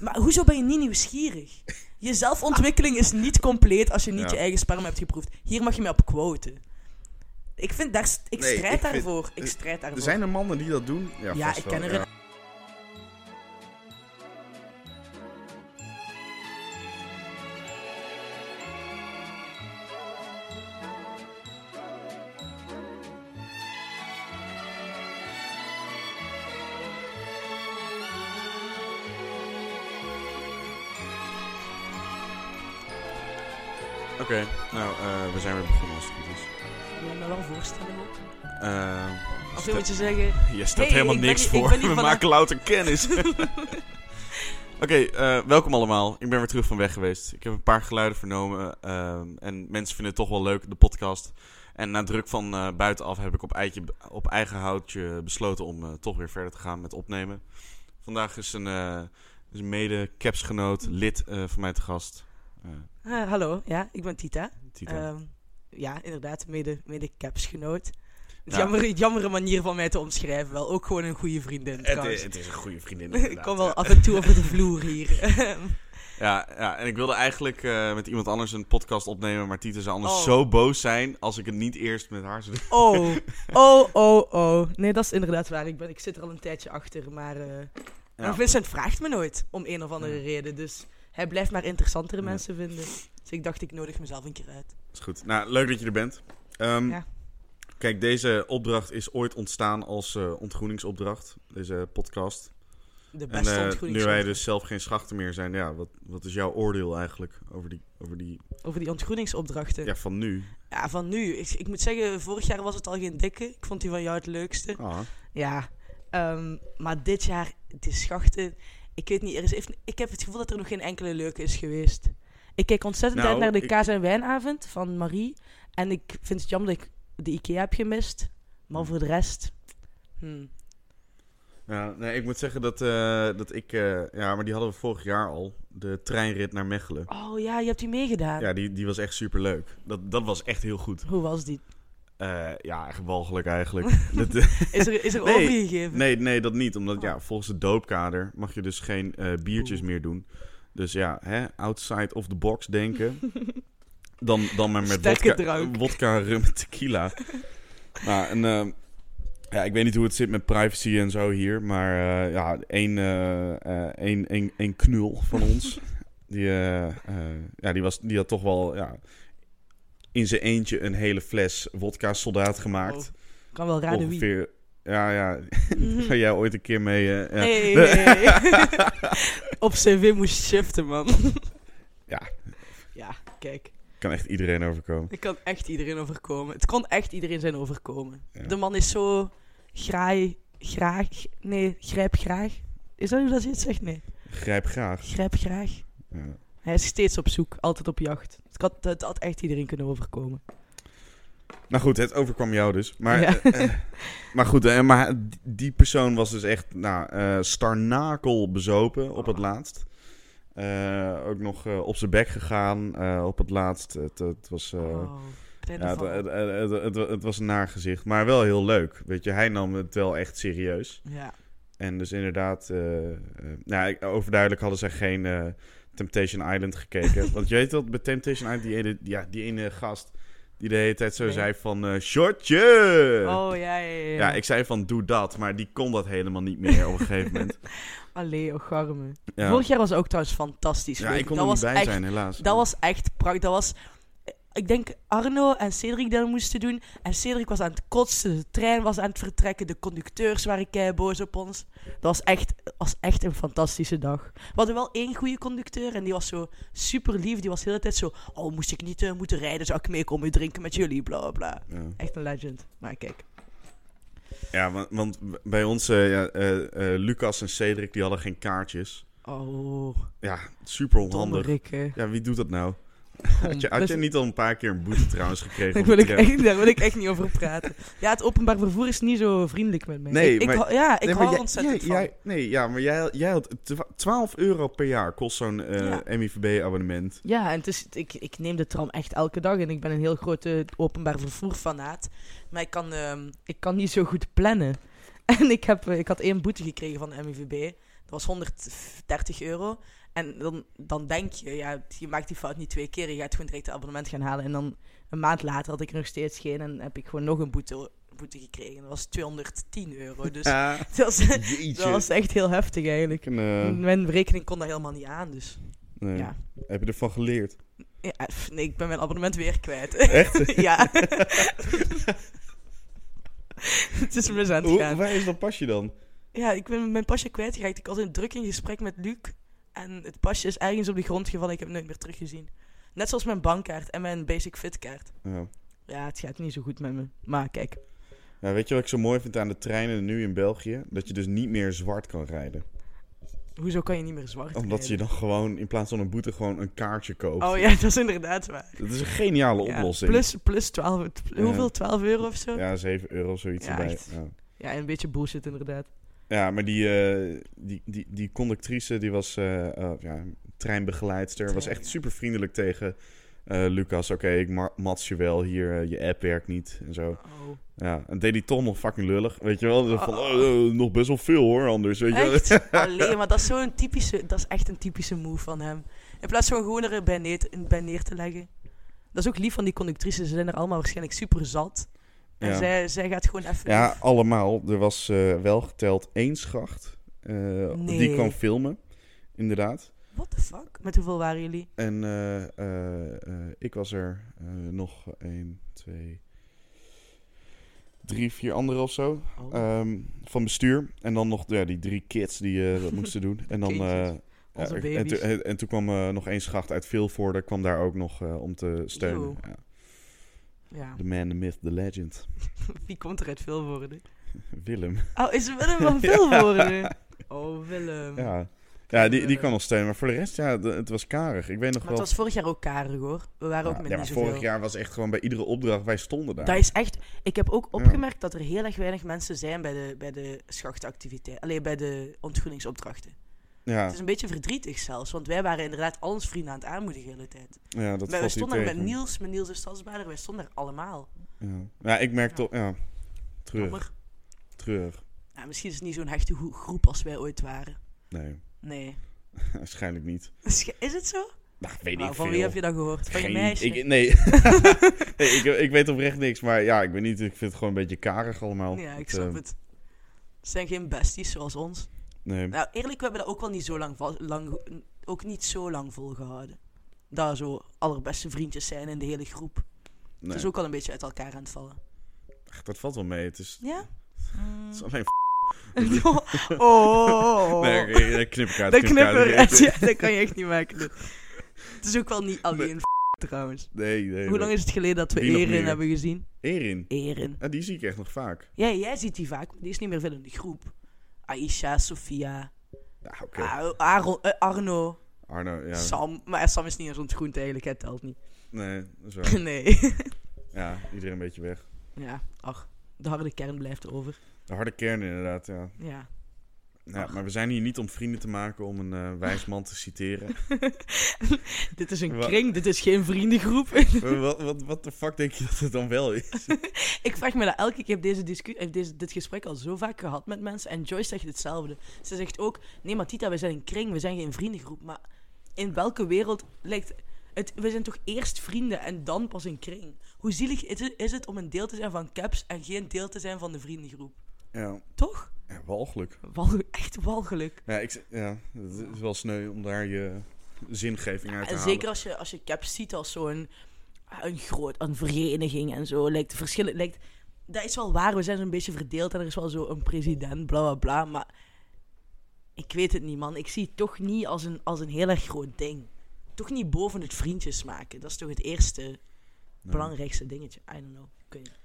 Maar hoezo ben je niet nieuwsgierig? Je zelfontwikkeling is niet compleet als je niet Ja. je eigen sperma hebt geproefd. Hier mag je mij op quoten. Ik vind daar... st- Ik Nee, strijd ik vind- daarvoor. ik eh, strijd daarvoor. Er zijn er mannen die dat doen. Ja, Ja, vast ik wel, ken er ja. een- Oké, nou, eh, we zijn weer begonnen als het goed is. Wil je me wel voorstellen, Bob? Eh, Of sta- wil je zeggen... je staat Hey, helemaal ik ben niks hier- ik voor. ben hier We vandaag- maken louter kennis. Oké, eh, welkom allemaal. Ik ben weer terug van weg geweest. Ik heb een paar geluiden vernomen. ehm, en mensen vinden het toch wel leuk, de podcast. En na druk van eh, buitenaf heb ik op, eitje, op eigen houtje besloten om eh, toch weer verder te gaan met opnemen. Vandaag is een, eh, is een mede-capsgenoot, lid eh, van mij te gast. Eh, Ah, hallo, ja, ik ben Tita. Tita. Ehm, ja, inderdaad, mede, mede capsgenoot. Het Ja. Jammer, jammere manier van mij te omschrijven wel. Ook gewoon een goede vriendin het, trouwens. is, het is een goede vriendin. ik inderdaad, kom ja. wel af en toe over de vloer hier. Ehm, Ja, ja, en ik wilde eigenlijk eh, met iemand anders een podcast opnemen, maar Tita zou anders Oh. zo boos zijn als ik het niet eerst met haar zou doen. oh, oh, oh, oh. Nee, dat is inderdaad waar. Ik, ben, ik zit er al een tijdje achter. Maar, eh, maar Vincent vraagt me nooit om een of andere Ja. reden. Dus hij blijft maar interessantere Ja. mensen vinden. Dus ik dacht, ik nodig mezelf een keer uit. Is goed. Nou, leuk dat je er bent. Ehm, Ja. Kijk, deze opdracht is ooit ontstaan als eh, ontgroeningsopdracht, deze podcast. De En beste eh, ontgroening nu wij dus zelf geen schachten meer zijn, ja, wat, wat is jouw oordeel eigenlijk over die, over die over die ontgroeningsopdrachten. ja, van nu? Ja, van nu. Ik, ik moet zeggen, vorig jaar was het al geen dikke. Ik vond die van jou het leukste. Ah, Ja. ehm, maar dit jaar, de schachten. Ik weet niet, er is even, ik heb het gevoel dat er nog geen enkele leuke is geweest. Ik keek ontzettend Nou, uit naar de ik- kaas- en wijnavond van Marie. En ik vind het jammer dat ik de IKEA heb gemist. Maar Hmm. voor de rest... hmm. ja, nee, ik moet zeggen dat, eh, dat ik, eh, ja, maar die hadden we vorig jaar al, de treinrit naar Mechelen. Oh ja, je hebt die meegedaan. Ja, die, die was echt superleuk. Dat, dat was echt heel goed. Hoe was die? Eh, ja, echt walgelijk eigenlijk. dat, eh, Is er, is er Nee, overgegeven? nee, nee, dat niet. Omdat Oh. ja, volgens het doopkader mag je dus geen eh, biertjes Oeh. meer doen. Dus ja, hè, outside of the box denken. dan, dan maar met Sterke wodka, drank. wodka, rum en tequila. nou, en, ehm, ja, ik weet niet hoe het zit met privacy en zo hier. Maar eh, ja, één, eh, eh, één, één, één knul van ons. die, eh, eh, ja, die, was, die had toch wel ja, in zijn eentje een hele fles wodka-soldaat gemaakt. Kan wel raden wie. Ongeveer. Ja, ja. Mhm. Zou jij ooit een keer mee. eh, ja. Hey, hey, hey. Op cv moest shiften, man. Ja. Ja, kijk. Kan echt iedereen overkomen. Het kan echt iedereen overkomen. Het kon echt iedereen zijn overkomen. Ja. De man is zo graai, graag... Nee, grijp graag. Is dat hoe dat je het zegt? Nee. Grijp graag. Grijp graag. Ja. Hij is steeds op zoek, altijd op jacht. Het, kan, het had echt iedereen kunnen overkomen. Nou goed, het overkwam jou dus. Maar, Ja. eh, eh, maar goed, eh, maar die persoon was dus echt nou, eh, starnakel bezopen op het laatst. Eh, ook nog eh, op zijn bek gegaan eh, op het laatst. Het, het was. eh, Oh, kleine ja, het, val. het, het, het- het- het was een naar gezicht, maar wel heel leuk. Weet je, hij nam het wel echt serieus. ja. En dus inderdaad, eh, eh, nou, ik- overduidelijk hadden zij geen eh, Temptation Island gekeken. Want je weet dat bij Temptation Island, die ene, ja, die ene gast die de hele tijd zo Nee. zei van... eh, Shortje! Oh, ja, ja, ja. eh, ja, ik zei van doe dat, maar die kon dat helemaal niet meer op een gegeven moment. Allee, oh, garme. Ja, Vorig jaar was ook trouwens fantastisch. ja weet ik kon dat er niet was bij echt zijn, helaas. Dat was echt prachtig. Dat was, ik denk Arno en Cedric dat moesten doen. En Cedric was aan het kotsen, de trein was aan het vertrekken, de conducteurs waren kei boos op ons. Dat was echt, was echt een fantastische dag. We hadden wel één goede conducteur en die was zo super lief. Die was de hele tijd zo, oh moest ik niet eh, moeten rijden, zou ik mee komen drinken met jullie, bla bla, bla. Ja. Echt een legend. Maar kijk. Ja, want, want bij ons, eh, ja, eh, eh, Lucas en Cedric, die hadden geen kaartjes. Oh, Ja, super domme onhandig. Rikke. Ja, wie doet dat nou? Had je, Kom, had best- je niet al een paar keer een boete trouwens gekregen? Daar wil, op de ik tram? echt, daar wil ik echt niet over praten. Ja, het openbaar vervoer is niet zo vriendelijk met mij. Nee, ik, ik maar- hou- ja, ik Nee, maar hou er jij- ontzettend jij- van. jij- nee, ja, maar jij, jij had twa- 12 euro per jaar kost zo'n eh Ja. MIVB-abonnement. Ja, en het is, ik, ik neem de tram echt elke dag en ik ben een heel grote openbaar vervoerfanaat. Maar ik kan, ehm, ik kan niet zo goed plannen. En ik, heb, eh, ik had één boete gekregen van de MIVB. Dat was 130 euro. En dan, dan denk je, ja, je maakt die fout niet twee keer. Je gaat gewoon direct een abonnement gaan halen. En dan een maand later had ik er nog steeds geen. En heb ik gewoon nog een boete, boete gekregen. Dat was 210 euro. Dus Ah, dat, was, jeetje. dat was echt heel heftig eigenlijk. Ik, eh, Mijn rekening kon daar helemaal niet aan. Dus nee. ja. Heb je ervan geleerd? Ja, pff, nee, ik ben mijn abonnement weer kwijt. Echt? ja. het is mis aan het Hoe, gaan. waar is dat pasje dan? Ja, ik ben mijn pasje kwijtgeraakt. Ik had een druk in gesprek met Luc. En het pasje is ergens op de grond gevallen. Ik heb het nooit meer teruggezien. Net zoals mijn bankkaart en mijn basic fit kaart. Ja. Ja, het gaat niet zo goed met me. Maar kijk. Ja, weet je wat ik zo mooi vind aan de treinen nu in België? Dat je dus niet meer zwart kan rijden. Hoezo kan je niet meer zwart Omdat je rijden? dan gewoon in plaats van een boete gewoon een kaartje koopt. Oh ja, dat is inderdaad waar. Dat is een geniale Ja, oplossing. Plus, plus 12, pl- Ja. hoeveel? 12 euro of zo? Ja, Ja, 7 euro of zoiets Ja, erbij. echt. Ja. en een beetje bullshit inderdaad. ja, maar die, eh, die, die, die conductrice, die was eh, eh, ja, treinbegeleidster, was Trein, echt ja. super vriendelijk tegen eh, Lucas. Oké, ik ma- mats je wel, hier, eh, je app werkt niet en zo. Oh. Ja, en deed die toch nog fucking lullig, weet je wel? Van, Oh. oh, eh, nog best wel veel hoor, anders, weet je wel. Echt? Allee, maar dat is zo'n typische... Dat is echt een typische move van hem. In plaats van gewoon erbij neer, bij neer te leggen. Dat is ook lief van die conductrices. Ze zijn er allemaal waarschijnlijk super zat. En Ja. zij, zij gaat gewoon even... Ja, allemaal. Er was eh, wel geteld één schacht eh, die Nee. kwam filmen, inderdaad. What the fuck? Met hoeveel waren jullie? En eh, eh, eh, ik was er eh, nog 1, 2, 3, 4 anderen of zo. Oh. ehm, van bestuur. En dan nog ja, die drie kids die eh, dat moesten doen. En dan. eh, Kindjes. ja, Onze en, baby's. toen- en- en toen kwam eh, nog één schacht uit Vilvoorde, kwam daar ook nog eh, om te steunen. Yo. Ja. ja. The man, the myth, the legend. Wie komt er uit Vilvoorde? Willem. Oh, is Willem van Vilvoorde? Oh, Willem. Maar Ja, ja die, die Willem. kan nog steunen. Maar voor de rest, ja, de- het was karig. Ik weet nog het wel. was vorig jaar ook karig, hoor. We waren Ja, ook met niet ja, maar zoveel. vorig jaar was echt gewoon bij iedere opdracht, wij stonden daar. Dat is echt... Ik heb ook opgemerkt dat er heel erg weinig mensen zijn bij de, bij de schachtactiviteit. Alleen bij de ontgroeningsopdrachten. Ja, Het is een beetje verdrietig zelfs, want wij waren inderdaad alles vrienden aan het aanmoedigen de hele tijd. ja dat wij, wij valt hier stonden met tegen. Niels, met Niels de Stadsbader, wij stonden er allemaal. Ja. ja, ik merk Ja. toch... Ja, treurig, Jammer. treurig. Nou, misschien is het niet zo'n hechte goe- groep als wij ooit waren. Nee, Nee. waarschijnlijk niet. Is is het zo? Nou, weet Nou, ik van veel. wie heb je dat gehoord? Van Geen- je meisje? Ik, nee, nee ik, ik weet oprecht niks. Maar ja, ik weet niet. Ik vind het gewoon een beetje karig allemaal. ja, ik Dat, snap eh, het. Het zijn geen besties zoals ons. Nee. Nou, eerlijk, we hebben dat ook wel niet zo lang, va- lang, ook niet zo lang volgehouden. Daar zo allerbeste vriendjes zijn in de hele groep. nee. Het is ook al een beetje uit elkaar aan het vallen. Ach, dat valt wel mee. Het is, Ja? het Mm. is alleen... oh. oh. Nee, oké, dat knip ik uit. De knip ik uit. knipper, echt, ja, dat kan je echt niet maken. dit. Het is ook wel niet alleen trouwens. Nee, nee. Hoe lang is het geleden dat we Die nog Erin meer. hebben gezien? Erin. Erin. Ah, die zie ik echt nog vaak. Ja, jij ziet die vaak, maar die is niet meer veel in de groep. Aisha, Sofia, Ja, oké. A- Aaron- eh, Arno, Arno, ja. Sam. Maar eh, Sam is niet eens ontgroend eigenlijk, het telt niet. Nee, dat is waar. nee. Ja, iedereen een beetje weg. ja, ach, de harde kern blijft over. De harde kern inderdaad, ja. Ja. ja Ach. maar we zijn hier niet om vrienden te maken, om een eh, wijs man te citeren. Dit is een Wa- kring, dit is geen vriendengroep. Wa- wat, wat, wat de fuck denk je dat het dan wel is? Ik vraag me dat elke keer. Ik heb, deze discu- ik heb deze, dit gesprek al zo vaak gehad met mensen. En Joyce zegt hetzelfde. Ze zegt ook: Nee, maar Tita, we zijn een kring, we zijn geen vriendengroep. Maar in welke wereld lijkt. Het, we zijn toch eerst vrienden en dan pas een kring? Hoe zielig is het, is het om een deel te zijn van Caps en geen deel te zijn van de vriendengroep? Ja, Toch? ja walgelijk. Walge- echt walgelijk. Ja, ik, z- ja, het is wel sneu om daar je zingeving uit te En halen. zeker als je, als je Caps ziet als zo'n een groot, een vereniging en zo. Lijkt verschillen, lijkt, dat is wel waar, we zijn zo'n beetje verdeeld en er is wel zo een president, bla bla bla. Maar ik weet het niet, man. Ik zie het toch niet als een, als een heel erg groot ding. Toch niet boven het vriendjes maken. Dat is toch het eerste, Nee. belangrijkste dingetje. I don't know. Ik weet niet.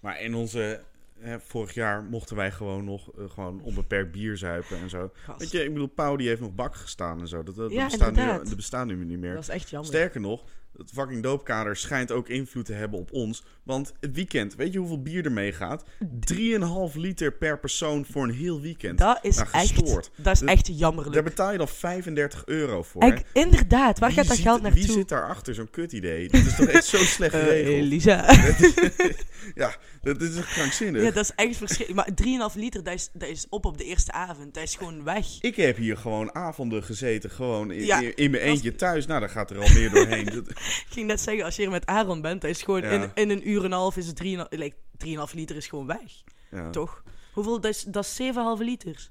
Maar in onze... Hè, vorig jaar mochten wij gewoon nog eh, gewoon onbeperkt bier zuipen en zo. Gast. Weet je, ik bedoel, Pauw die heeft nog bak gestaan en zo. Dat, dat, Ja, bestaan, nu, inderdaad. dat bestaan nu niet meer. dat is echt jammer. Sterker nog, dat fucking doopkader schijnt ook invloed te hebben op ons. Want het weekend, weet je hoeveel bier er meegaat? 3,5 liter per persoon voor een heel weekend. Dat is, Nou, gestoord. echt, dat is Dat- echt Daar jammerlijk. betaal je dan 35 euro voor. hè? Echt, inderdaad, waar Wie gaat dat zit- geld naartoe? Wie zit daarachter zo'n kut idee? Dit is toch echt zo slecht Eh, geregeld? Elisa. ja, dat, dit is echt krankzinnig. Ja, dat is echt verschrikkelijk. Maar 3,5 liter, dat is, dat is op op de eerste avond. Dat is gewoon weg. Ik heb hier gewoon avonden gezeten, gewoon in, Ja, in, in mijn dat- eentje thuis. Nou, daar gaat er al meer doorheen. Dat- Ik ging net zeggen, als je hier met Aaron bent, dat is gewoon Ja. in, in een uur en een half is het 3,5 like, 3,5 liter is gewoon weg. ja. Toch? Hoeveel? Dat is, dat is 7,5 liter.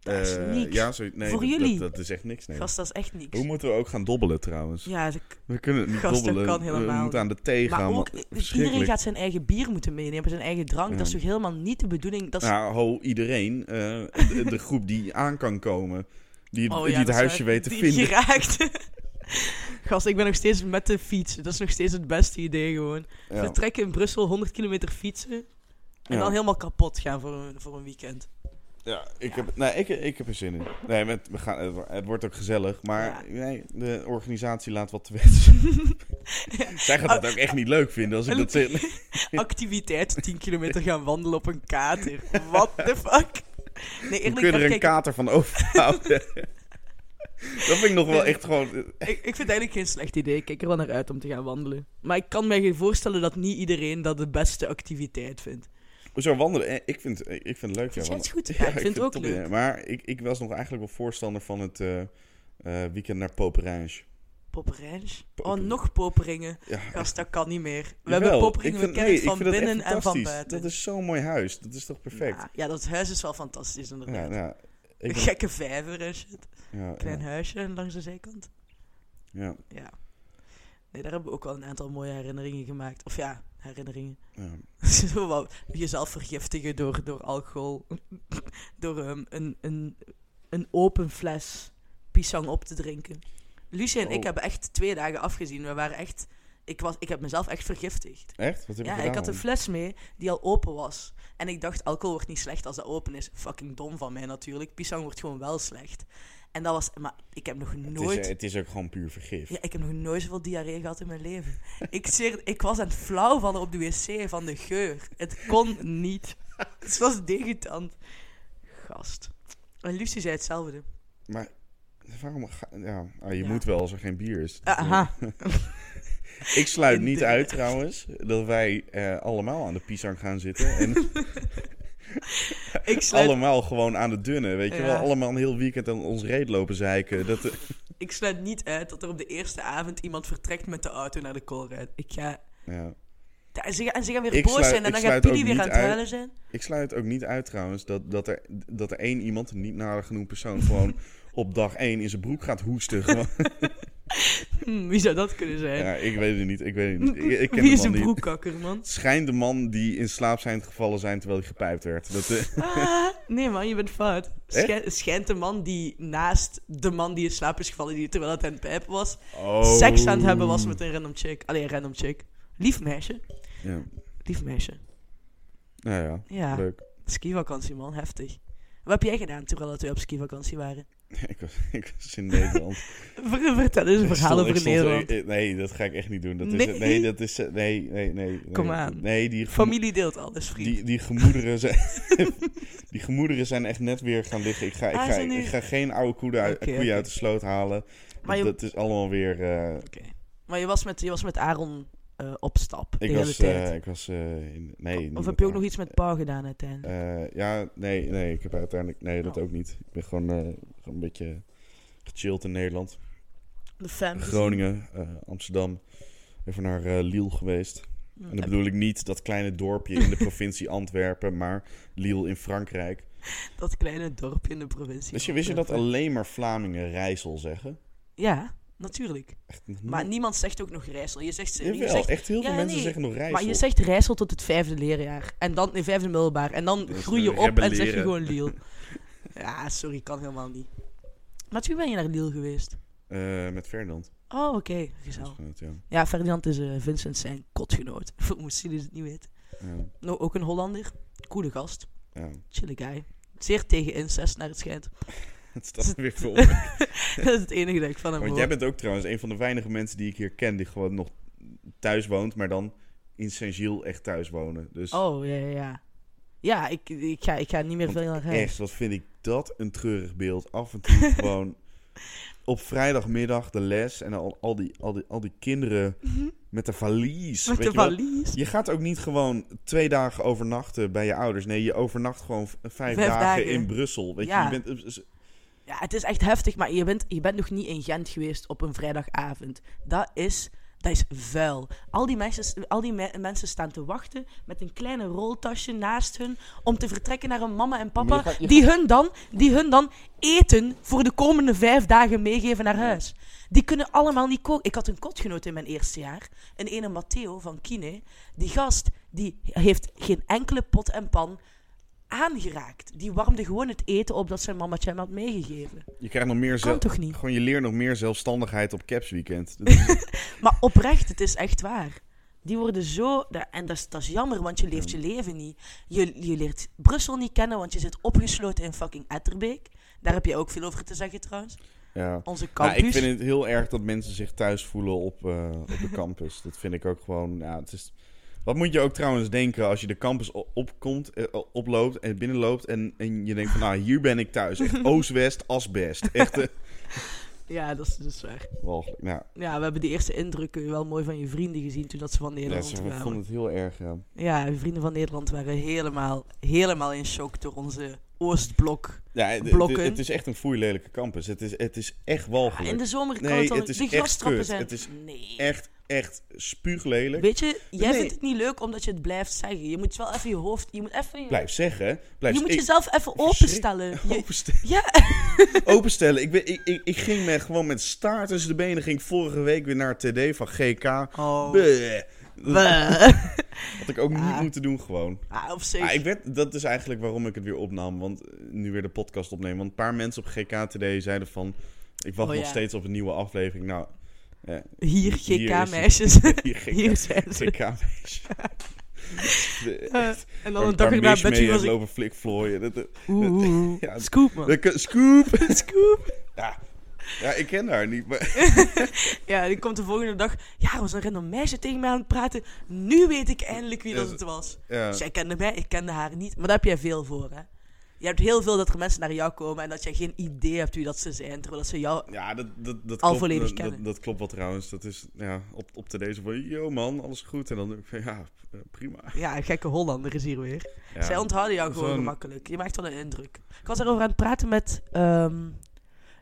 Dat is Eh, niks. Ja, zo, nee, Voor dat, jullie. Dat, dat is echt niks, nee. Gast, dat is echt niks. Hoe moeten we ook gaan dobbelen trouwens? Ja, dat- We kunnen het niet Gast, dat dobbelen. kan we helemaal moeten aan de thee maar gaan. ook, man. iedereen Verschrikkelijk. gaat zijn eigen bier moeten meenemen, zijn eigen drank. Ja. Dat is toch helemaal niet de bedoening? Dat is, Nou, ho, iedereen. eh, de, de groep die aan kan komen. Die, Oh ja, die dat het is huisje waar. weet te Die vinden. Geraakt. Gast, ik ben nog steeds met de fiets. Dat is nog steeds het beste idee gewoon. Ja. We trekken in Brussel 100 kilometer fietsen. En Ja. dan helemaal kapot gaan voor een, voor een weekend. Ja, ik heb, nee, ik, ik heb er zin in. Nee, met, we gaan, het, wo- het wordt ook gezellig, maar Ja. nee, de organisatie laat wat te wensen. Zij gaat het ook echt niet leuk vinden als ik dat zeg. Activiteit, 10 kilometer gaan wandelen op een kater. What the fuck? Nee, Hoe eerlijk, kun je daar er een kijk kater van overhouden? dat vind ik nog wel echt gewoon... eh, ik, ik vind het eigenlijk geen slecht idee. Ik kijk er wel naar uit om te gaan wandelen. Maar ik kan mij voorstellen dat niet iedereen dat de beste activiteit vindt. Zo wandelen, eh, ik vind, ik vind het leuk. Vind jij het ja, wandelen. goed? Ja, ik vind het ook top idee. leuk. Maar ik, ik was nog eigenlijk wel voorstander van het eh, eh, weekend naar Poperange. Popperijns? Oh, Popperijns. nog poperingen. Ja, Gast, dat kan niet meer. We Jawel, hebben ik poperingen, we vind- kennen nee, het van ik vind dat echt binnen en van fantastisch. buiten. Dat is zo'n mooi huis. Dat is toch perfect? Ja, ja, dat huis is wel fantastisch inderdaad. Ja, nou, ik een ben- gekke vijver en shit. ja, ja, Klein huisje langs de zijkant. ja, Ja. Nee, daar hebben we ook wel een aantal mooie herinneringen gemaakt. Of ja, herinneringen. ja. Zo wel Jezelf vergiftigen door, door alcohol. door ehm, een, een, een open fles pisang op te drinken. Lucie en ik Oh. hebben echt twee dagen afgezien. We waren echt... Ik, was, ik heb mezelf echt vergiftigd. Echt? Wat heb Ja, je ik gedaan, had een man? fles mee die al open was. En ik dacht, alcohol wordt niet slecht als dat open is. Fucking dom van mij natuurlijk. Pisang wordt gewoon wel slecht. En dat was... Maar ik heb nog Het is, nooit... eh, Het is, ook gewoon puur vergif. Ja, ik heb nog nooit zoveel diarree gehad in mijn leven. ik, zeer, ik was aan het flauw vallen op de wc van de geur. Het kon niet. Het was degutant. Gast. En Lucie zei hetzelfde. Maar waarom ga... Ja, ah, je Ja. moet wel als er geen bier is. Ah, Aha. Ik sluit In niet de- uit trouwens dat wij eh, allemaal aan de pisang gaan zitten. En Ik sluit, allemaal gewoon aan de dunne. Weet je Ja. wel, allemaal een heel weekend aan ons reet lopen zeiken. Dat, eh, ik sluit niet uit dat er op de eerste avond iemand vertrekt met de auto naar de koolruit. Ik ga... ja. Ja, En ze, en ze gaan weer Ik boos sluit- zijn en ik dan gaat sluit Pili ook weer niet aan het uit. huilen zijn. Ik sluit ook niet uit trouwens dat, dat, er, dat er één iemand, een niet nader genoemd persoon, gewoon op dag één in zijn broek gaat hoesten. Gewoon. Hm, wie zou dat kunnen zijn? Ja, ik weet het niet. Ik weet het niet. Ik, ik ken wie de is man een niet. broekkakker, man? Het schijnt de man die in slaap zijn gevallen zijn terwijl hij gepijpt werd. Dat, eh, Ah, nee, man, je bent fout. Echt? Schijnt, schijnt de man die naast de man die in slaap is gevallen die terwijl het aan het pijpen was, Oh. seks aan het hebben was met een random chick. Allee, een random chick. Lief meisje. Ja. Lief meisje. Nou ja, Ja, leuk. skivakantie, man. Heftig. Wat heb jij gedaan terwijl we op skivakantie waren? Ik was, ik was in Nederland. Ver- Vertel eens een Ik verhaal stond- ik over stond- Nederland. eh, eh, nee, dat ga ik echt niet doen. Dat Nee. Is, nee, dat is... eh, Nee, nee, nee. nee. Kom aan. Nee, die, gemo- Familie deelt alles, vriend. die, die gemoederen zijn... die gemoederen zijn echt net weer gaan liggen. Ik ga, ik Ah, ga, zijn die- ik ga geen oude koe uit, Oké, koeien oké. uit de sloot halen. Maar je- Dat is allemaal weer... eh, Oké. Maar je was met, je was met Aaron eh, op stap de ik, hele was, eh, tijd. ik was... eh, in, nee, niet of met heb je ook haar. nog iets met Paul gedaan uiteindelijk? Eh, ja, nee, nee, ik heb uiteindelijk... Nee, dat Oh. ook niet. Ik ben gewoon, eh, gewoon een beetje gechilled in Nederland. De fam. Groningen, eh, Amsterdam. Even naar eh, Liel geweest. En dan bedoel ik niet dat kleine dorpje in de provincie Antwerpen, maar Lille in Frankrijk. Dat kleine dorpje in de provincie. Wist je, wist je dat alleen maar Vlamingen Rijssel zeggen? Ja, natuurlijk. Echt nog Maar nooit. niemand zegt ook nog Rijssel. Je zegt, je Jawel, zegt echt heel veel Ja, mensen nee, zeggen nog Rijssel. maar je zegt Rijssel tot het vijfde leerjaar. En dan, nee, vijfde middelbaar. En dan Dat is groei je op en zeg je rebelleren. gewoon Liel. ja, sorry, kan helemaal niet. Met wie ben je naar Liel geweest? Eh, met Ferdinand. Oh, oké, Dat is gezellig. goed, ja. Ja, Ferdinand is eh, Vincent zijn kotgenoot. Voor moest jullie het niet weten. Ja, Nou, ook een Hollander. Coole gast. ja. Chille guy. Zeer tegen incest, naar het schijnt. Het staat me weer voor. op. dat is het enige dat ik van hem Want hoor. jij bent ook trouwens een van de weinige mensen die ik hier ken die gewoon nog thuis woont, maar dan in Saint-Gilles echt thuis wonen. Dus Oh, ja, ja, ja. Ja, ik, ik, ga, ik ga niet meer Want veel naar huis. echt, wat vind ik dat een treurig beeld. Af en toe gewoon op vrijdagmiddag de les en al, al, die, al, die, al die kinderen met de valies. Mhm. Met weet de je wel. valies. Je gaat ook niet gewoon twee dagen overnachten bij je ouders. Nee, je overnacht gewoon v- vijf, Vijf dagen, dagen. in Brussel. Weet Ja. je, je bent, eh, Ja, het is echt heftig, maar je bent, je bent nog niet in Gent geweest op een vrijdagavond. Dat is, dat is vuil. Al die, mensen, al die me- mensen staan te wachten met een kleine roltasje naast hun om te vertrekken naar een mama en papa, Maar je gaat- je die, hun dan, die hun dan eten voor de komende vijf dagen meegeven naar huis. Die kunnen allemaal niet koken. Ik had een kotgenoot in mijn eerste jaar, een ene Matteo van Kine. Die gast, die heeft geen enkele pot en pan aangeraakt. Die warmde gewoon het eten op dat zijn mamatje hem had meegegeven. je krijgt nog meer Kan zelf. toch niet? Gewoon je leert nog meer zelfstandigheid op Caps Weekend. Dat is- Maar oprecht, het is echt waar. Die worden zo... da- En dat is, dat is jammer, want je leeft je leven niet. Je, je leert Brussel niet kennen, want je zit opgesloten in fucking Etterbeek. Daar heb je ook veel over te zeggen trouwens. ja. Onze Ja, campus. Nou, ik vind het heel erg dat mensen zich thuis voelen op, eh, op de campus. Dat vind ik ook gewoon. Ja, het is... Wat moet je ook trouwens denken als je de campus o- opkomt, eh, o- oploopt en binnenloopt en, en je denkt van nou hier ben ik thuis. Echt oost-west, asbest. Echt eh, Ja, dat is dus waar. walgelijk. Nou, Ja, we hebben die eerste indrukken wel mooi van je vrienden gezien toen dat ze van ja, Nederland ze waren. vonden het heel erg. Ja. Ja, je vrienden van Nederland waren helemaal, helemaal in shock door onze Oostblok. Ja, het, Blokken. het- het is echt een foeilelijke campus. Het is, het is echt Ah, in walgelijk. de zomer kan Nee, het al het is De echt grastrappen kut. zijn... Het is nee. Echt, echt spuuglelijk. Weet je, jij Nee. vindt het niet leuk omdat je het blijft zeggen. Je moet wel even je hoofd... Je moet, even je, Blijf zeggen. Blijf je moet ik- jezelf even openstellen. Je, Openstellen. ja, Openstellen. Ik, ben, ik, ik, ik ging me gewoon met staart tussen de benen. Ging vorige week weer naar het TD van GK. Oh. Bleh. Dat Bleh. had ik ook niet Ah. moeten doen gewoon. Ah, op zich. Ah, ik werd, dat is eigenlijk waarom ik het weer opnam. Want eh, nu weer de podcast opnemen. Want een paar mensen op GK TD zeiden van... Ik wacht Oh, nog ja. steeds op een nieuwe aflevering. Nou, eh, Hier, hier is het. GK-meisjes. hier GK. Hier zijn ze. Ah, GK-meisje. en dan een dag erna bed je was ik... lopen flikvlooien. Dat- dat- Oeh, oeh, oeh. Ja, Scoop, man. dat- Scoop! Scoop. Ja. ja, ik ken haar niet. Maar Ja, die komt de volgende dag. Ja, er was een random meisje tegen mij aan het praten. Nu weet ik eindelijk wie dat het was. Ja. Zij kende mij, ik kende haar niet. Maar daar heb jij veel voor, hè? Je hebt heel veel dat er mensen naar jou komen en dat jij geen idee hebt wie dat ze zijn, terwijl dat ze jou... Ja, dat, dat, dat Al klopt. volledig dat, kennen. dat, dat klopt wel trouwens. Dat is ja, op, op de deze van, yo man, alles goed. En dan denk ik van, ja, eh, prima. Ja, een gekke Hollander is hier weer. Ja. Zij onthouden jou gewoon Zo'n- gemakkelijk. Je maakt wel een indruk. Ik was daarover aan het praten met. ehm,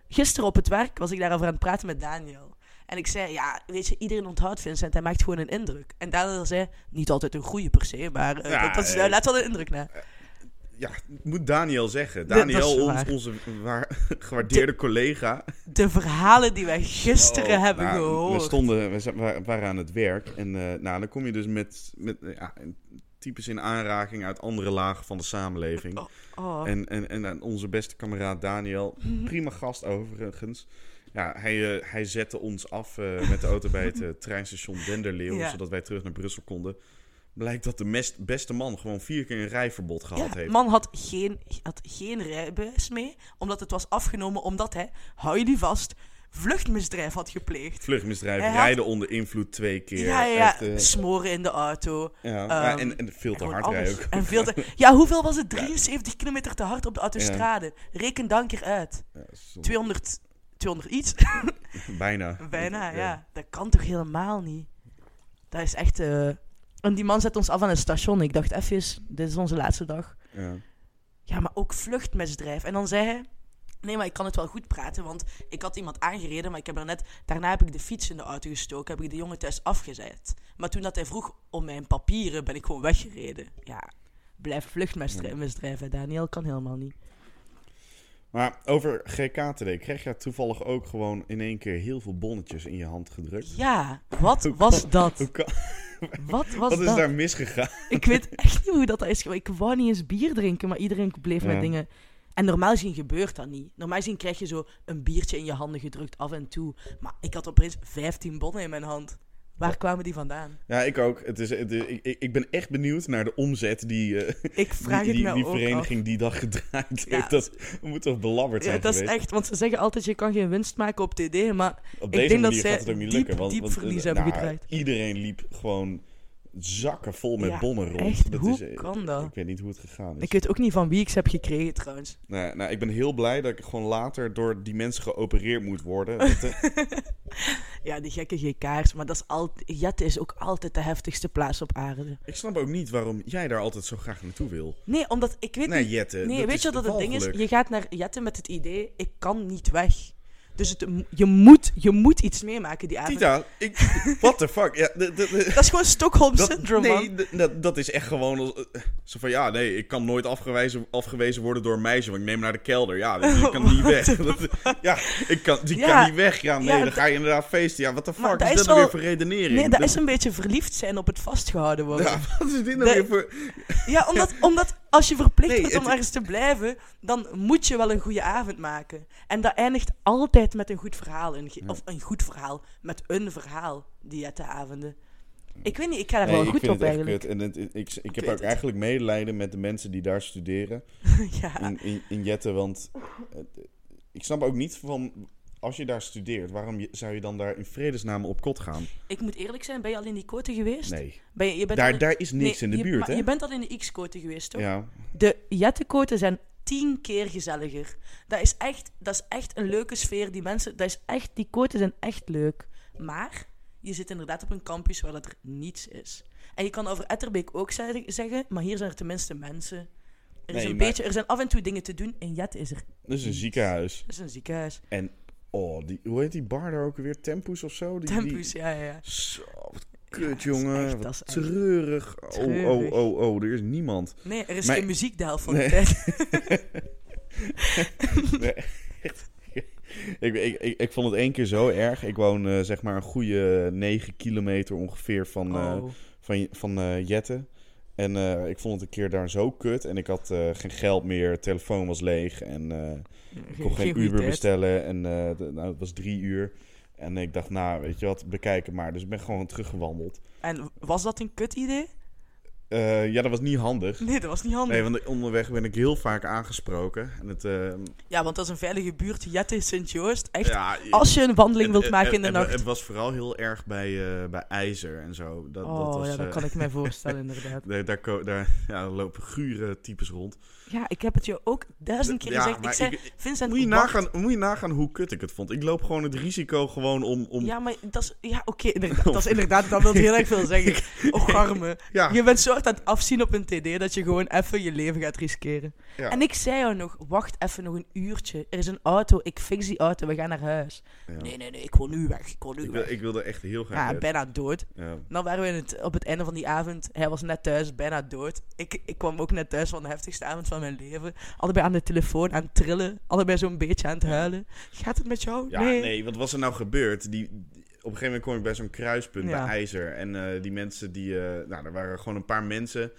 gisteren op het werk was ik daarover aan het praten met Daniel. En ik zei: Ja, weet je, iedereen onthoudt Vincent. Hij maakt gewoon een indruk. En Daniel zei: Niet altijd een goede per se, maar eh, Ja, dat, dat is, eh, laat wel een indruk na. Ja, moet Daniel zeggen. Dat- dat is Daniel, ons, waar. onze waar, gewaardeerde collega. De verhalen die wij gisteren Oh, hebben nou, gehoord. We stonden, we za- wa- waren aan het werk. En eh, nou, dan kom je dus met, met eh, ja, types in aanraking uit andere lagen van de samenleving. Oh, En, en, en aan onze beste kameraad Daniel, Mhm. prima gast overigens. Ja, hij, eh, hij zette ons af eh, met de auto bij het eh, treinstation Denderleeuw, Ja. zodat wij terug naar Brussel konden. Blijkt dat de mest- beste man gewoon vier keer een rijverbod gehad ja, heeft. man had geen, had geen rijbewijs mee, omdat het was afgenomen omdat hij, hou jullie vast, vluchtmisdrijf had gepleegd. Vluchtmisdrijf, Hij had- rijden onder invloed twee keer. Ja, ja, ja. Echt, eh, smoren in de auto. ja. Ja, Ehm, en, en veel te Gewoon hard rijden alles. ook. En veel te... Ja, hoeveel was het? 73 kilometer te hard op de autostrade. Reken dan keer uit. Ja, soms 200, 200 iets? bijna. Bijna, ja. Dat kan toch helemaal niet? Dat is echt... eh, En die man zet ons af aan het station. Ik dacht even, dit is onze laatste dag. Ja. Ja, maar ook vluchtmisdrijf. En dan zei hij... Nee, maar ik kan het wel goed praten, want ik had iemand aangereden, maar ik heb er net... Daarna heb ik de fiets in de auto gestoken, heb ik de jongen thuis afgezet. Maar toen dat hij vroeg om mijn papieren, ben ik gewoon weggereden. Ja, blijf vluchtmisdrijven, Daniel, kan helemaal niet. Maar over GKTD, kreeg jij toevallig ook gewoon in één keer heel veel bonnetjes in je hand gedrukt? Ja, wat Hoe was dat? Hoe kan- Wat was Wat is dat? daar misgegaan? Ik weet echt niet hoe dat is. geweest. Ik wou niet eens bier drinken, maar iedereen bleef Ja. met dingen. En normaal gezien gebeurt dat niet. Normaal gezien krijg je zo een biertje in je handen gedrukt af en toe. Maar ik had opeens 15 bonnen in mijn hand. Waar kwamen die vandaan? Ja, ik ook. Het is, het is- ik, ik- ik ben echt benieuwd naar de omzet die, eh, Ik vraag die, die, het me die ook vereniging die dag gedraaid Ja. heeft. Dat moet toch belabberd af. Ja, zijn dat is geweest? echt, want ze zeggen altijd je kan geen winst maken op TD, maar Op ik deze denk dat manier zij gaat het ook niet diep- lukken. Want, diep want, eh, verlies hebben nou, gedraaid. Iedereen liep gewoon zakken vol met Ja, bonnen rond. echt, dat hoe is, eh, kan dat? Ik weet niet hoe het gegaan is. ik weet ook niet van wie ik ze heb gekregen trouwens. Nou, nou, ik ben heel blij dat ik gewoon later door die mensen geopereerd moet worden. Dat, eh, Ja, die gekke GK'ers, maar dat is altijd, Jette is ook altijd de heftigste plaats op aarde. ik snap ook niet waarom jij daar altijd zo graag naartoe wil. Nee, omdat ik weet Nee, niet... Jette. Nee, Eh, dat weet is je wat dat het ding is? walgelijk. Je gaat naar Jette met het idee, ik kan niet weg. Dus het, je, moet, je moet iets meemaken die avond. Tita, ik, what the fuck? Ja, d- d- d- Dat is gewoon Stockholm dat- Syndrome, man. nee, d- dat, dat is echt gewoon als, eh, zo van ja, nee, ik kan nooit afgewezen, afgewezen worden door een meisje, want ik neem hem naar de kelder. Ja, dus ik kan niet weg. Dat- ja, ik kan, die Ja, kan niet weg. Ja, nee, ja, dan d- ga je inderdaad feesten. Ja, wat de Maar fuck dat is, is dat nou weer wel- voor redenering? Nee, dat is een beetje verliefd zijn op het vastgehouden worden. Ja, Ja, wat is dit nou Dat- weer voor... omdat, omdat als je verplicht Nee, wordt om het- ergens te blijven, dan moet je wel een goede avond maken. En dat eindigt altijd met een goed verhaal. in ge- Of een goed verhaal, met een verhaal, die Jette-avonden. Ik weet niet, ik ga daar wel ik goed vind op het echt eigenlijk. kut. En het- ik, ik, ik heb weet ook het. eigenlijk medelijden met de mensen die daar studeren. ja. In, in, in Jette, want eh, ik snap ook niet van... Als je daar studeert, waarom je- zou je dan daar in vredesnaam op kot gaan? Ik moet eerlijk zijn, ben je al in die quote geweest? Nee, Ben je, je bent al daar, in- daar is niks Nee, in de je- buurt, maar hè? Je bent al in de X-quote geweest, toch? Ja, De jettenkoten zijn tien keer gezelliger. Dat is, echt, dat is echt een leuke sfeer. Die mensen, dat is echt, die koten zijn echt leuk. Maar je zit inderdaad op een campus waar dat er niets is. En je kan over Etterbeek ook ze- zeggen, maar hier zijn er tenminste mensen. Er, is Nee, een maar- beetje, er zijn af en toe dingen te doen. In Jet is er. dat is een ziekenhuis. Dat is een ziekenhuis. En, oh, die, hoe heet die bar daar ook weer? Tempus of zo? Die, die- Tempus, ja, ja, ja. Zo, wat Ja, dat kut, is jongen. echt- Wat dat is echt treurig. treurig. Oh, oh, oh, oh, er is niemand. Nee, er is Maar- geen muziek de helft van Nee. de tijd. Ik, ik, ik, ik vond het één keer zo erg. Ik woon eh, zeg maar een goede 9 kilometer ongeveer van, eh, Oh. van, van eh, Jette. En eh, ik vond het een keer daar zo kut. En ik had eh, geen geld meer, telefoon was leeg. En eh, ik kon geen, goede Uber tijd. bestellen. En eh, d- nou, het was drie uur. En ik dacht, nou, weet je wat, bekijk het maar. Dus ik ben gewoon teruggewandeld. En was dat een kut idee? Eh, ja, dat was niet handig. Nee, dat was niet handig. Nee, want onderweg ben ik heel vaak aangesproken. En het, eh, Ja, want dat is een veilige buurt. Jette is Sint-Joost. Echt ja, Als je een wandeling wilt Het- maken in de het- het- nacht. Het was vooral heel erg bij, eh, bij ijzer en zo. Dat, dat Oh was, ja, dat eh, kan ik mij voorstellen, inderdaad. Daar, daar, ko- daar ja, lopen gure types rond. Ja, ik heb het je ook duizend keer Ja, gezegd. Ik maar zei, ik- Vincent, Moet je, wacht. nagaan, moet je nagaan hoe kut ik het vond. Ik loop gewoon het risico gewoon om... om ja. Ja, maar dat is... Ja, oké, inderdaad. Dat is inderdaad... Dat wil heel erg veel zeggen. Och, arme. Je bent zo hard aan het afzien op een TD dat je gewoon even je leven gaat riskeren. Ja. En ik zei jou nog, wacht even nog een uurtje. Er is een auto, ik fix die auto, we gaan naar huis. Ja. Nee, nee, nee, ik wil nu weg, ik wil nu Ik, wil, weg. ik wilde echt heel graag... Ja, uit. bijna dood. Ja. Dan waren we in het, op het einde van die avond. Hij was net thuis, bijna dood. Ik, ik kwam ook net thuis van de heftigste avond van mijn leven. Allebei aan de telefoon, aan het trillen. Allebei zo'n beetje aan het huilen. Gaat het met jou? Ja, nee. wat was er nou gebeurd? Die, die- op een gegeven moment kwam ik bij zo'n kruispunt Ja. bij IJzer. En eh, die mensen die... eh, nou, er waren gewoon een paar mensen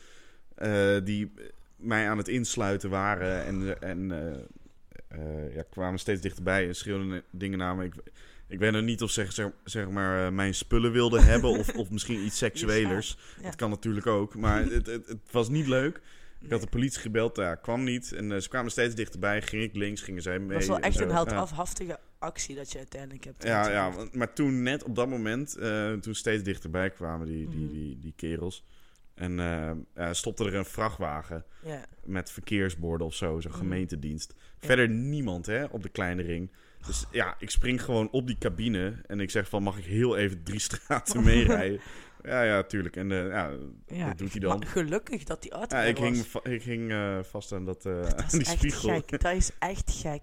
eh, die mij aan het insluiten waren. En, en eh, eh, ja, kwamen steeds dichterbij en schreeuwden dingen naar me. Ik, ik weet nog niet of ze zeg, zeg maar eh, mijn spullen wilden hebben. Of, of misschien iets seksuelers. Ja. Dat kan natuurlijk ook. Maar het, het, het was niet leuk. Ik had de politie gebeld, daar kwam niet. En eh, ze kwamen steeds dichterbij. Ging ik links, gingen zij mee. Dat was wel en echt zo. een Ja. heldhaftige actie dat je uiteindelijk hebt. Ja, ja, uitgevoerd. want- maar toen net op dat moment, eh, toen steeds dichterbij kwamen die, die, Mhm. die, die kerels. En eh, eh, stopte er een vrachtwagen Ja. met verkeersborden of zo, zo'n Mhm. gemeentedienst. Verder niemand hè, op de kleine ring. Dus Oh. ja, ik spring gewoon op die cabine en ik zeg van, mag ik heel even drie Oh. straten meerijden? ja, ja, tuurlijk. En eh, ja, Ja. dat doet hij dan. Maar gelukkig dat die auto Ja, er ik was. ging, me va- ik ging eh, vast aan, dat, eh, Dat aan is die echt spiegel. gek. Dat is echt gek.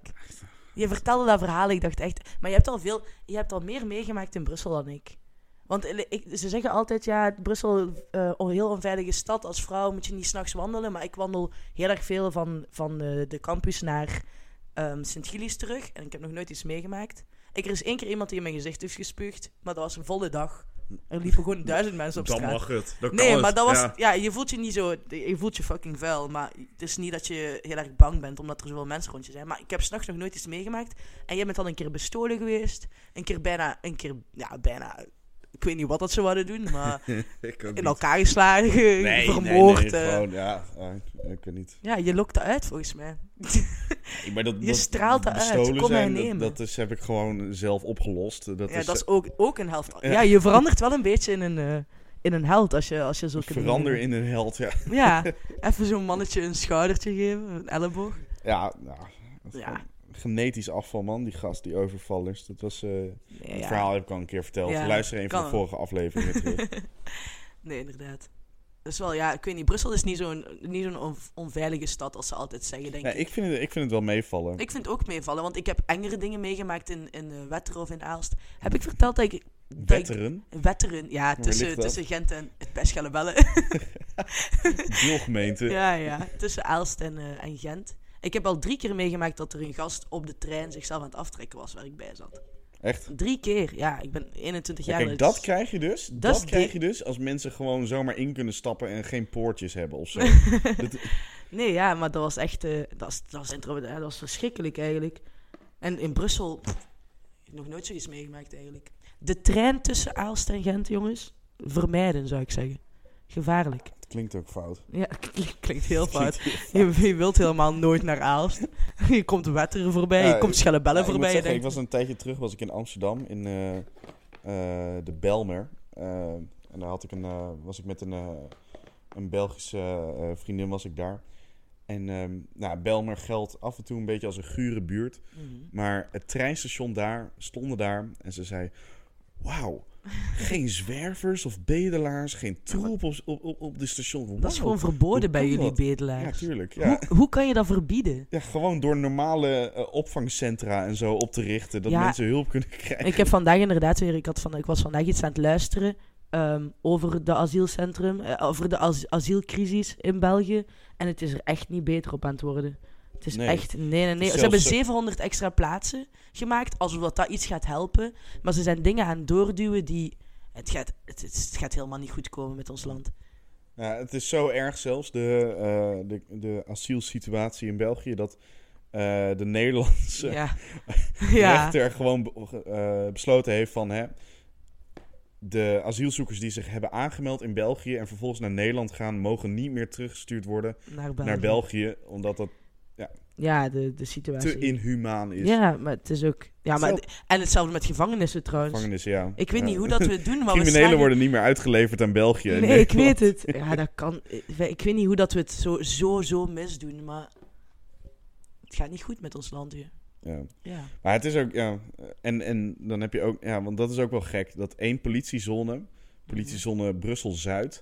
Je vertelde dat verhaal, ik dacht echt... Maar je hebt al, veel, je hebt al meer meegemaakt in Brussel dan ik. Want eh, ik, ze zeggen altijd, ja, Brussel, eh een heel onveilige stad. Als vrouw moet je niet s'nachts wandelen. Maar ik wandel heel erg veel van, van eh, de campus naar ehm Sint-Gilles terug. En ik heb nog nooit iets meegemaakt. Ik, er is één keer iemand die in mijn gezicht heeft gespuugd. Maar dat was een volle dag. Er liepen gewoon duizend mensen op Dan straat. mag het. Dan Nee, kan maar het. dat was. Ja. Ja. je voelt je niet zo. Je voelt je fucking vuil. Maar het is niet dat je heel erg bang bent omdat er zoveel mensen rond je zijn. Maar ik heb s'nachts nog nooit iets meegemaakt. En jij bent al een keer bestolen geweest. Een keer bijna. Een keer. Ja, bijna. Ik weet niet wat dat ze wilden doen, maar Ik ook in niet. elkaar geslagen, vermoord. Nee, eh. nee, gewoon, ja, ah, ik weet niet. Ja, je lokt eruit volgens mij. Ik- Maar dat, Je dat straalt eruit, bestolen kom mij zijn, dat- nemen. Dat, is, heb ik gewoon zelf opgelost. Dat ja, is, eh, dat is ook, ook een held. Ja. Ja. je verandert wel een beetje in een, eh, in een held als je, als je zulke dingen verander doet. in een held, ja. Ja, even zo'n mannetje een schoudertje geven, een elleboog. Ja, nou, Ja. genetisch afval, man. Die gast, die overvallers. Dat was... eh, Nee, Het ja. verhaal heb ik al een keer verteld. Ja, Luister even kan van de vorige aflevering weer terug. Nee, inderdaad. Dus wel, ja, ik weet niet. Brussel is niet zo'n niet zo'n on- onveilige stad als ze altijd zeggen, denk Ja, ik. ik, vind het, ik vind het wel meevallen. Ik vind het ook meevallen, want ik heb engere dingen meegemaakt in, in eh, Wetteren of in Aalst. Heb ik verteld dat ik... dat ik- Wetteren, Wetteren, ja, tussen, ligt dat? tussen Gent en het Peschellebellen. deelgemeente. Ja, ja. Tussen Aalst en, eh, en Gent. Ik heb al drie keer meegemaakt dat er een gast op de trein zichzelf aan het aftrekken was waar ik bij zat. Echt. Drie keer, ja. Ik ben 21 Ja, jaar. kijk, dat krijg je dus. Dat, is krijg dik. je dus als mensen gewoon zomaar in kunnen stappen en geen poortjes hebben of zo. dat, Nee, ja, maar dat was echt... eh, dat, was, dat, was intro, dat was verschrikkelijk eigenlijk. En in Brussel... pff, ik heb nog nooit zoiets meegemaakt eigenlijk. De trein tussen Aalst en Gent, jongens. Vermijden, zou ik zeggen. Gevaarlijk. dat klinkt ook fout. Ja, klinkt heel fout. Je, je wilt helemaal nooit naar Aalst. Je komt Wetteren voorbij, Ja, je komt Schellebellen Ja, ik moet voorbij. je zeggen, ik denkt, was een tijdje terug was ik in Amsterdam in eh, eh, de Belmer. Eh, en daar had ik een, eh, was ik met een, eh, een Belgische eh, vriendin was ik daar. En ehm, nou, Belmer geldt af en toe een beetje als een gure buurt. mhm. Maar het treinstation daar, stonden daar en ze zei... Wauw, geen zwervers of bedelaars, geen troep op, op, op, op de station. Dat is Wauw." gewoon verboden hoe bij kan jullie dat? Ja, bedelaars. tuurlijk. Ja. hoe, hoe kan je dat verbieden? Ja, gewoon door normale eh, opvangcentra en zo op te richten. Dat Ja. mensen hulp kunnen krijgen. Ik heb vandaag inderdaad weer, ik, had van, ik was vandaag iets aan het luisteren ehm, over de asielcentrum, eh, over de as- asielcrisis in België. En het is er echt niet beter op aan het worden. Het is Nee. echt, nee, nee, nee. is Ze zelfs hebben zo- 700 extra plaatsen gemaakt, alsof dat, dat iets gaat helpen. Maar ze zijn dingen aan het doorduwen die, het gaat, het, het gaat helemaal niet goed komen met ons land. Ja, het is zo erg zelfs, de, eh, de, de asielsituatie in België, dat eh, de Nederlandse Ja. rechter gewoon be- eh, besloten heeft van... Hè, de asielzoekers die zich hebben aangemeld in België en vervolgens naar Nederland gaan, mogen niet meer teruggestuurd worden naar België. naar België, omdat dat Ja, de, de situatie. te inhumaan is. Ja, dus maar het is ook. Ja, maar Hetzelfde. d- en hetzelfde met gevangenissen trouwens. Gevangenissen, ja. Ik weet Ja. niet hoe dat we doen, maar we Criminelen slagen- worden niet meer uitgeleverd aan België. Nee, in ik Nederland. weet het. Ja, dat kan. Ik we- ik weet niet hoe dat we het zo, zo, zo misdoen, maar het gaat niet goed met ons land hier. Ja. Ja. Maar het is ook, ja. En, en dan heb je ook, ja, want dat is ook wel gek. Dat één politiezone, politiezone Brussel-Zuid,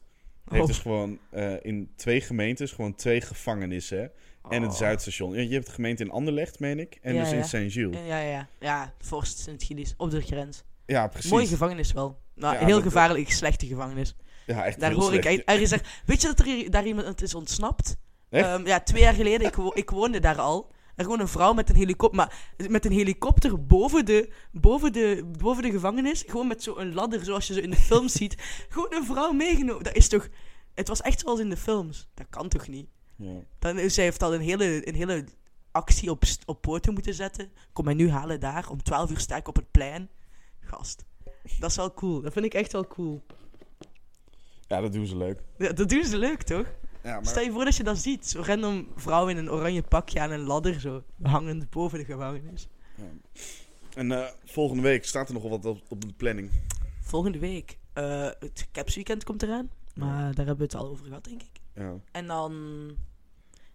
heeft Mhm. Oh. dus gewoon eh, in twee gemeentes gewoon twee gevangenissen. hè. En het Oh. Zuidstation. Je je hebt de gemeente in Anderlecht, meen ik. En Ja, dus in ja. Eh, Saint-Gilles. Ja, ja, ja. Ja, Forst Sint-Gilles, op de grens. Ja, precies. Mooie gevangenis wel. Nou, Ja, heel dat- gevaarlijk, slechte gevangenis. ja, echt Daar heel hoor ik slecht. echt- er is er, Weet je dat er hier- daar iemand is ontsnapt? Echt? Ehm, ja, twee jaar geleden, ik, wo- ik woonde daar al. Er gewoon een vrouw met een helikopter, maar met een helikopter boven de, boven de, boven de gevangenis. Gewoon met zo'n ladder, zoals je zo in de films ziet. Gewoon een vrouw meegenomen. Dat is toch... Het was echt zoals in de films. Dat kan toch niet? Ja. Dan, is- zij heeft al een hele, een hele actie op, st- op poten moeten zetten. Kom mij nu halen daar. Om 12 uur sta ik op het plein. Gast. Dat is wel cool. Dat vind ik echt wel cool. ja, dat doen ze leuk. Ja, dat doen ze leuk, toch? Ja, Stel je voor dat je dat ziet. Zo'n random vrouw in een oranje pakje aan een ladder, zo hangend boven de gevangenis. En eh, volgende week staat er nog wat op, op de planning. Volgende week, eh, het Caps Weekend komt eraan. Maar daar hebben we het al over gehad, denk ik. Ja. En dan...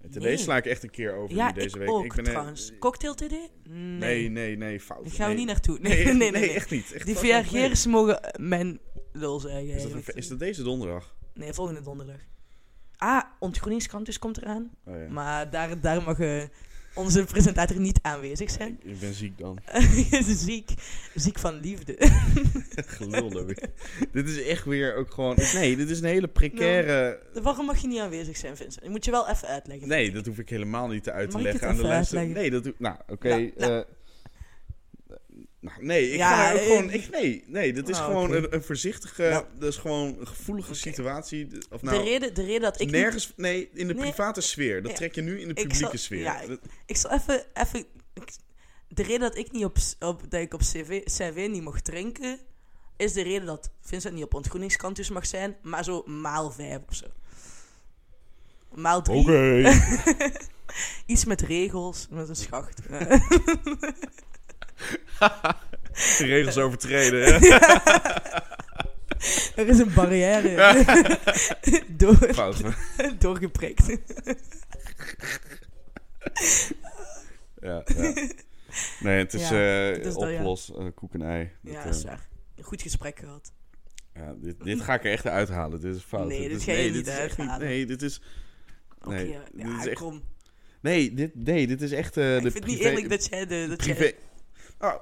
Deze Nee. sla ik echt een keer over ja, nu deze ik week. ook, ik ben, eh, trouwens. Cocktail TD? Nee. Nee, nee, nee, fout. Daar gaan we Nee. niet naartoe. Nee, Nee, echt- nee, nee. nee. echt niet. Echt Die fout. Nee. VRG'ers mogen eh, mijn lul zeggen. Is dat, een- eigenlijk. is dat deze donderdag? Nee, volgende donderdag. Ah, Ontgroeningskampus komt eraan. Oh, ja. Maar daar, daar mag eh, onze presentator niet aanwezig zijn. Ik ben ziek dan. ziek. Ziek van liefde. Gelul weer. dit is echt weer ook gewoon... Nee, dit is een hele precaire... Waarom mag je niet aanwezig zijn, Vincent? Ik moet je wel even uitleggen. Nee, dat hoef ik helemaal niet uit te Nou. Mag ik het leggen aan de even luisteraar. uitleggen? Nee, dat doe... Nou, oké. Nou, eh, nou, nee, ik Ja, ga daar ook eh, gewoon... Ik, nee, nee, dat is nou, gewoon oké. een, een voorzichtige... Nou. Dat is gewoon een gevoelige Oké. situatie. Of de, nou, reden, de reden dat ik. niet- nergens... Nee, in de Nee. private sfeer. Dat Ja. trek je nu in de Ik zal- publieke sfeer. ja, ik- Dat- ik zal even. even ik- de reden dat ik niet op, op, dat ik op CV, CV niet mocht drinken. is de reden dat Vincent niet op ontgroeningskant dus mag zijn, maar zo maal 5 of zo. Maal 3. Iets met regels, met een schacht. Eh, De regels overtreden. Hè? er is een barrière door, Fout. doorgeprikt. Ja, ja. Nee, het is Ja, eh, het is dat, ja. opgelost. eh, koek en ei. Dat, Ja, eh, dat is waar. Goed gesprek gehad. ja, dit, dit ga ik er echt uithalen. Dit is fout. Nee, dit is- ga je niet dit is echt uithalen. Nee, dit is... Oké, Nee, ja, dit is ja, echt kom. Nee, dit, nee, dit is echt eh, de ik vind het niet privé- eerlijk dat jij de, dat jij, privé... Oh,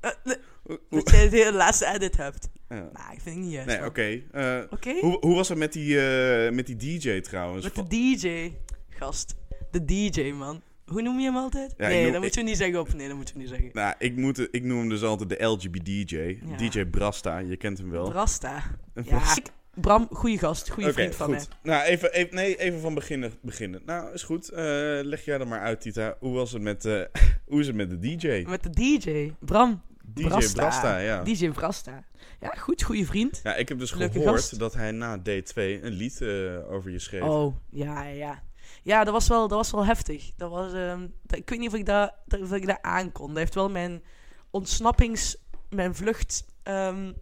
eh, de- oeh, oeh. dat jij de hele laatste edit hebt. Ja. Nou, ik vind het niet juist. Nee, oké. man. eh, Oké? hoe, hoe was het met die, eh, met die DJ trouwens? Met de DJ, gast. De DJ, man. Hoe noem je hem altijd? Ja, ik nee, noem- dat ik- moeten we niet zeggen op. Nee, dat moeten we niet zeggen. Nou, ik, moet, ik noem hem dus altijd de LGB-DJ. Ja. DJ Brasta, je kent hem wel. Rasta. Ja, Brasta. ik- Bram, goede gast. Goede Oké, vriend van goed. Nou, even, even, nee, even van beginnen, beginnen. Nou, is goed. Eh, leg jij er maar uit, Tita. Hoe, was het met, eh, hoe is het met de DJ? mij. Met de DJ. Bram, DJ Brasta. Brasta, ja. DJ Rasta. Ja, goed, goede vriend. Ja, ik heb dus Leuke gehoord gast. dat hij na D2 een lied eh, over je schreef. Oh, ja, ja, ja. Ja, dat was wel, dat was wel heftig. Dat was, ehm, dat- ik weet niet of ik dat, dat- of ik dat aankon. Dat heeft wel mijn ontsnappings... Mijn vlucht... ehm, mijn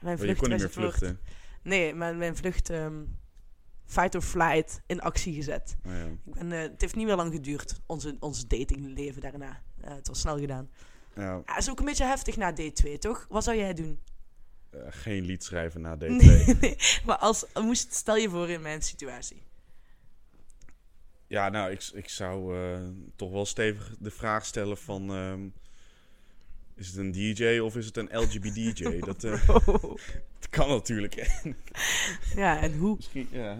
Want Oh, je kon niet meer vlucht- vluchten. Nee, mijn, mijn vlucht... ehm, fight or flight in actie gezet. Oh, ja. Ik ben, eh, het heeft niet meer lang geduurd, onze, ons datingleven daarna. Eh, het was snel gedaan. Nou, Ja, is ook een beetje heftig na D2, toch? Wat zou jij doen? eh, geen lied schrijven na D2. Nee, maar als, moest, stel je voor in mijn situatie. Ja, nou, ik, ik zou eh, toch wel stevig de vraag stellen van... ehm, is het een DJ of is het een LGB-DJ? Dat, eh, dat kan natuurlijk. hè. Ja, en hoe? Misschien, ja.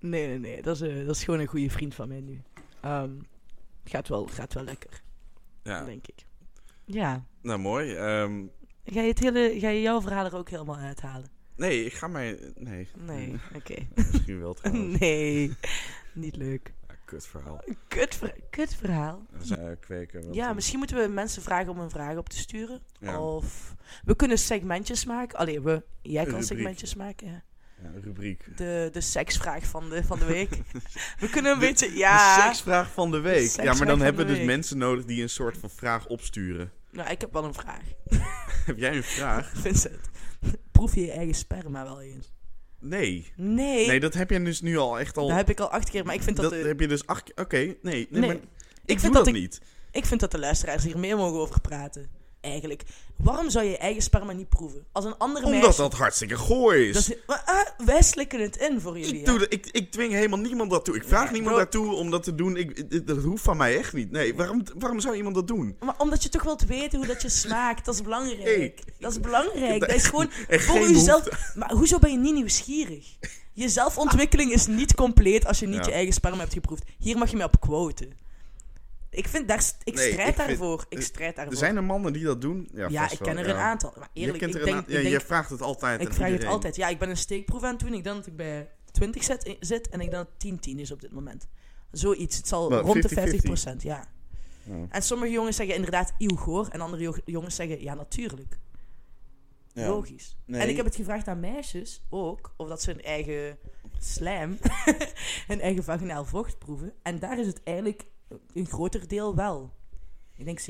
Nee, nee, nee. Dat is, eh, dat is gewoon een goede vriend van mij nu. Ehm, gaat, wel, gaat wel lekker, ja. denk ik. Ja. Nou, mooi. Ehm, Ga je, het hele, ga je jouw verhaal er ook helemaal uithalen? nee, ik ga mij... Nee. Nee, oké. Misschien wel trouwens. Nee, niet leuk. Ja, kut verhaal. Kut, ver- kut verhaal. Dat is, eh, kweken. want- Ja, misschien moeten we mensen vragen om een vraag op te sturen. Ja, Of we kunnen segmentjes maken. Allee, we, jij kan Een rubriek. segmentjes maken. ja. ja, een rubriek. De, de seksvraag van de, van de week. we kunnen een De- beetje. De Ja. seksvraag van de De week. seksvraag ja, maar van dan hebben de we dus week. mensen nodig die een soort van vraag opsturen. Nou, ik heb wel een vraag. Heb jij een vraag? Vincent, proef je je eigen sperma wel eens? Nee. Nee. Nee, dat heb jij dus nu al echt al... Dat heb ik al acht keer, maar ik vind dat, dat de, heb je dus acht keer... Oké, nee. nee, Nee, maar ik ik vind dat doe dat, ik- niet. ik vind dat de luisteraars hier meer mogen over praten. Eigenlijk. Waarom zou je je eigen sperma niet proeven? Als een andere Omdat meisje... dat hartstikke gooi is. dat is- maar, ah, wij slikken het in voor jullie. hè? ik, doe dat- ik, ik dwing helemaal niemand dat toe. Ik vraag Ja, niemand bro. daartoe om dat te doen. Ik, dit- dat hoeft van mij echt niet. Nee, waarom, waarom zou iemand dat doen? Maar omdat je toch wilt weten hoe dat je smaakt, dat is belangrijk. Hey. dat is belangrijk. Ik- Dat is gewoon En voor geen jezelf. Maar hoezo ben je niet nieuwsgierig? Je zelfontwikkeling is niet compleet als je niet Ja. je eigen sperma hebt geproeft. Hier mag je mij op quoten. Ik vind daar, st- ik Nee, strijd ik vind- daarvoor. eh, ik strijd daarvoor. Er zijn er mannen die dat doen. Ja, ja, vast ik wel, ken er ja. een aantal. Maar Je eerlijk, kent ik er denk, een aan- ik ja, denk- Jij vraagt het altijd. Ik aan vraag het iedereen. altijd. Ja, ik ben een steekproef aan het doen. Ik denk dat ik bij 20 zet- eh, zit en ik denk dat het 10-10 is op dit moment. Zoiets. Het zal Maar rond 50-50. de 50%, ja. Nou, Ja. En sommige jongens zeggen inderdaad eeuw goor. En andere jo- jongens zeggen ja, natuurlijk. Ja. Logisch. Nee. En ik heb het gevraagd aan meisjes ook. Of dat ze hun eigen slijm, hun eigen vaginaal vocht proeven. En daar is het eigenlijk een groter deel wel. Ik denk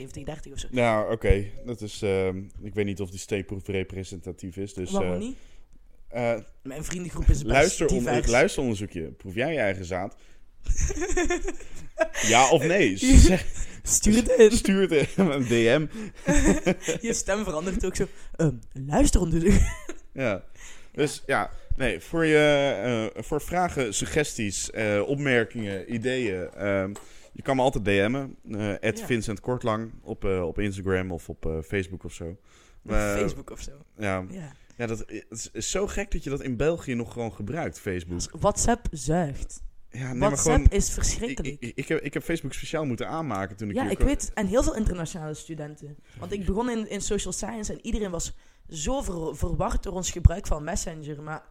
70-30 of zo. Nou, oké. Dat is... ehm, ik weet niet of die steekproef representatief is. Dus, Waarom eh, niet? eh, Mijn vriendengroep is best luisteronder, divers. luisteronderzoekje. Proef jij je eigen zaad? ja of nee? Zeg, Stuur het in. stuur het in een DM. Je stem verandert ook zo. Ehm, luister om de Ja. Dus ja, nee, voor, je, eh, voor vragen, suggesties, eh, opmerkingen, ideeën. ehm, je kan me altijd DM'en. eh at Ja. Vincent Kortlang op, eh, op Instagram of op eh, Facebook of zo. Eh, Facebook of zo. Ja, Ja. ja dat het is, is zo gek dat je dat in België nog gewoon gebruikt, Facebook. Dus WhatsApp zuigt. Ja, nee, maar WhatsApp gewoon... is Ik, verschrikkelijk. ik, ik heb, ik heb Facebook speciaal moeten aanmaken toen ik ja, hier ik kwam. weet. En heel veel internationale studenten. Want ik begon in, in social science en iedereen was zo ver- verward door ons gebruik van Messenger. Maar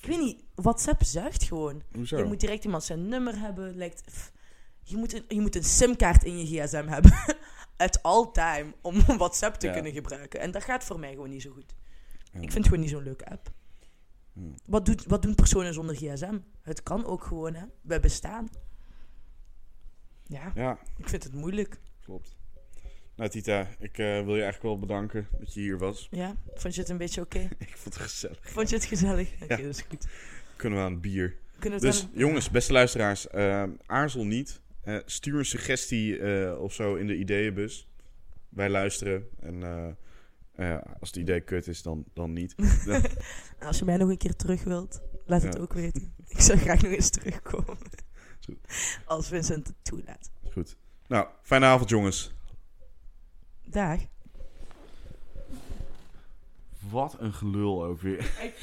ik weet niet, WhatsApp zuigt gewoon. Hoezo? Je moet direct iemand zijn nummer hebben. Lijkt, pff, je, moet een, je moet een simkaart in je gsm hebben. at all time om WhatsApp te Ja. kunnen gebruiken. En dat gaat voor mij gewoon niet zo goed. Ja. Ik vind het gewoon niet zo'n leuke app. Hmm. Wat, doet, wat doen personen zonder gsm? Het kan ook gewoon, hè. We bestaan. Ja, Ja, ik vind het moeilijk. klopt. Nou, Tita, ik eh, wil je eigenlijk wel bedanken dat je hier was. Ja, vond je het een beetje oké? Ik vond het gezellig. Vond je het gezellig? Oké, dat is goed. Kunnen we aan het bier. Kunnen we het Dus dan- jongens, beste luisteraars, eh, aarzel niet. Eh, stuur een suggestie eh, of zo in de ideeënbus. Wij luisteren. En eh, eh, als het idee kut is, dan, dan niet. Als je mij nog een keer terug wilt, laat het Ja. ook weten. Ik zou graag nog eens terugkomen. Is goed. Als Vincent het toelaat. Goed. Nou, fijne avond, jongens. Dag. Wat een gelul ook weer.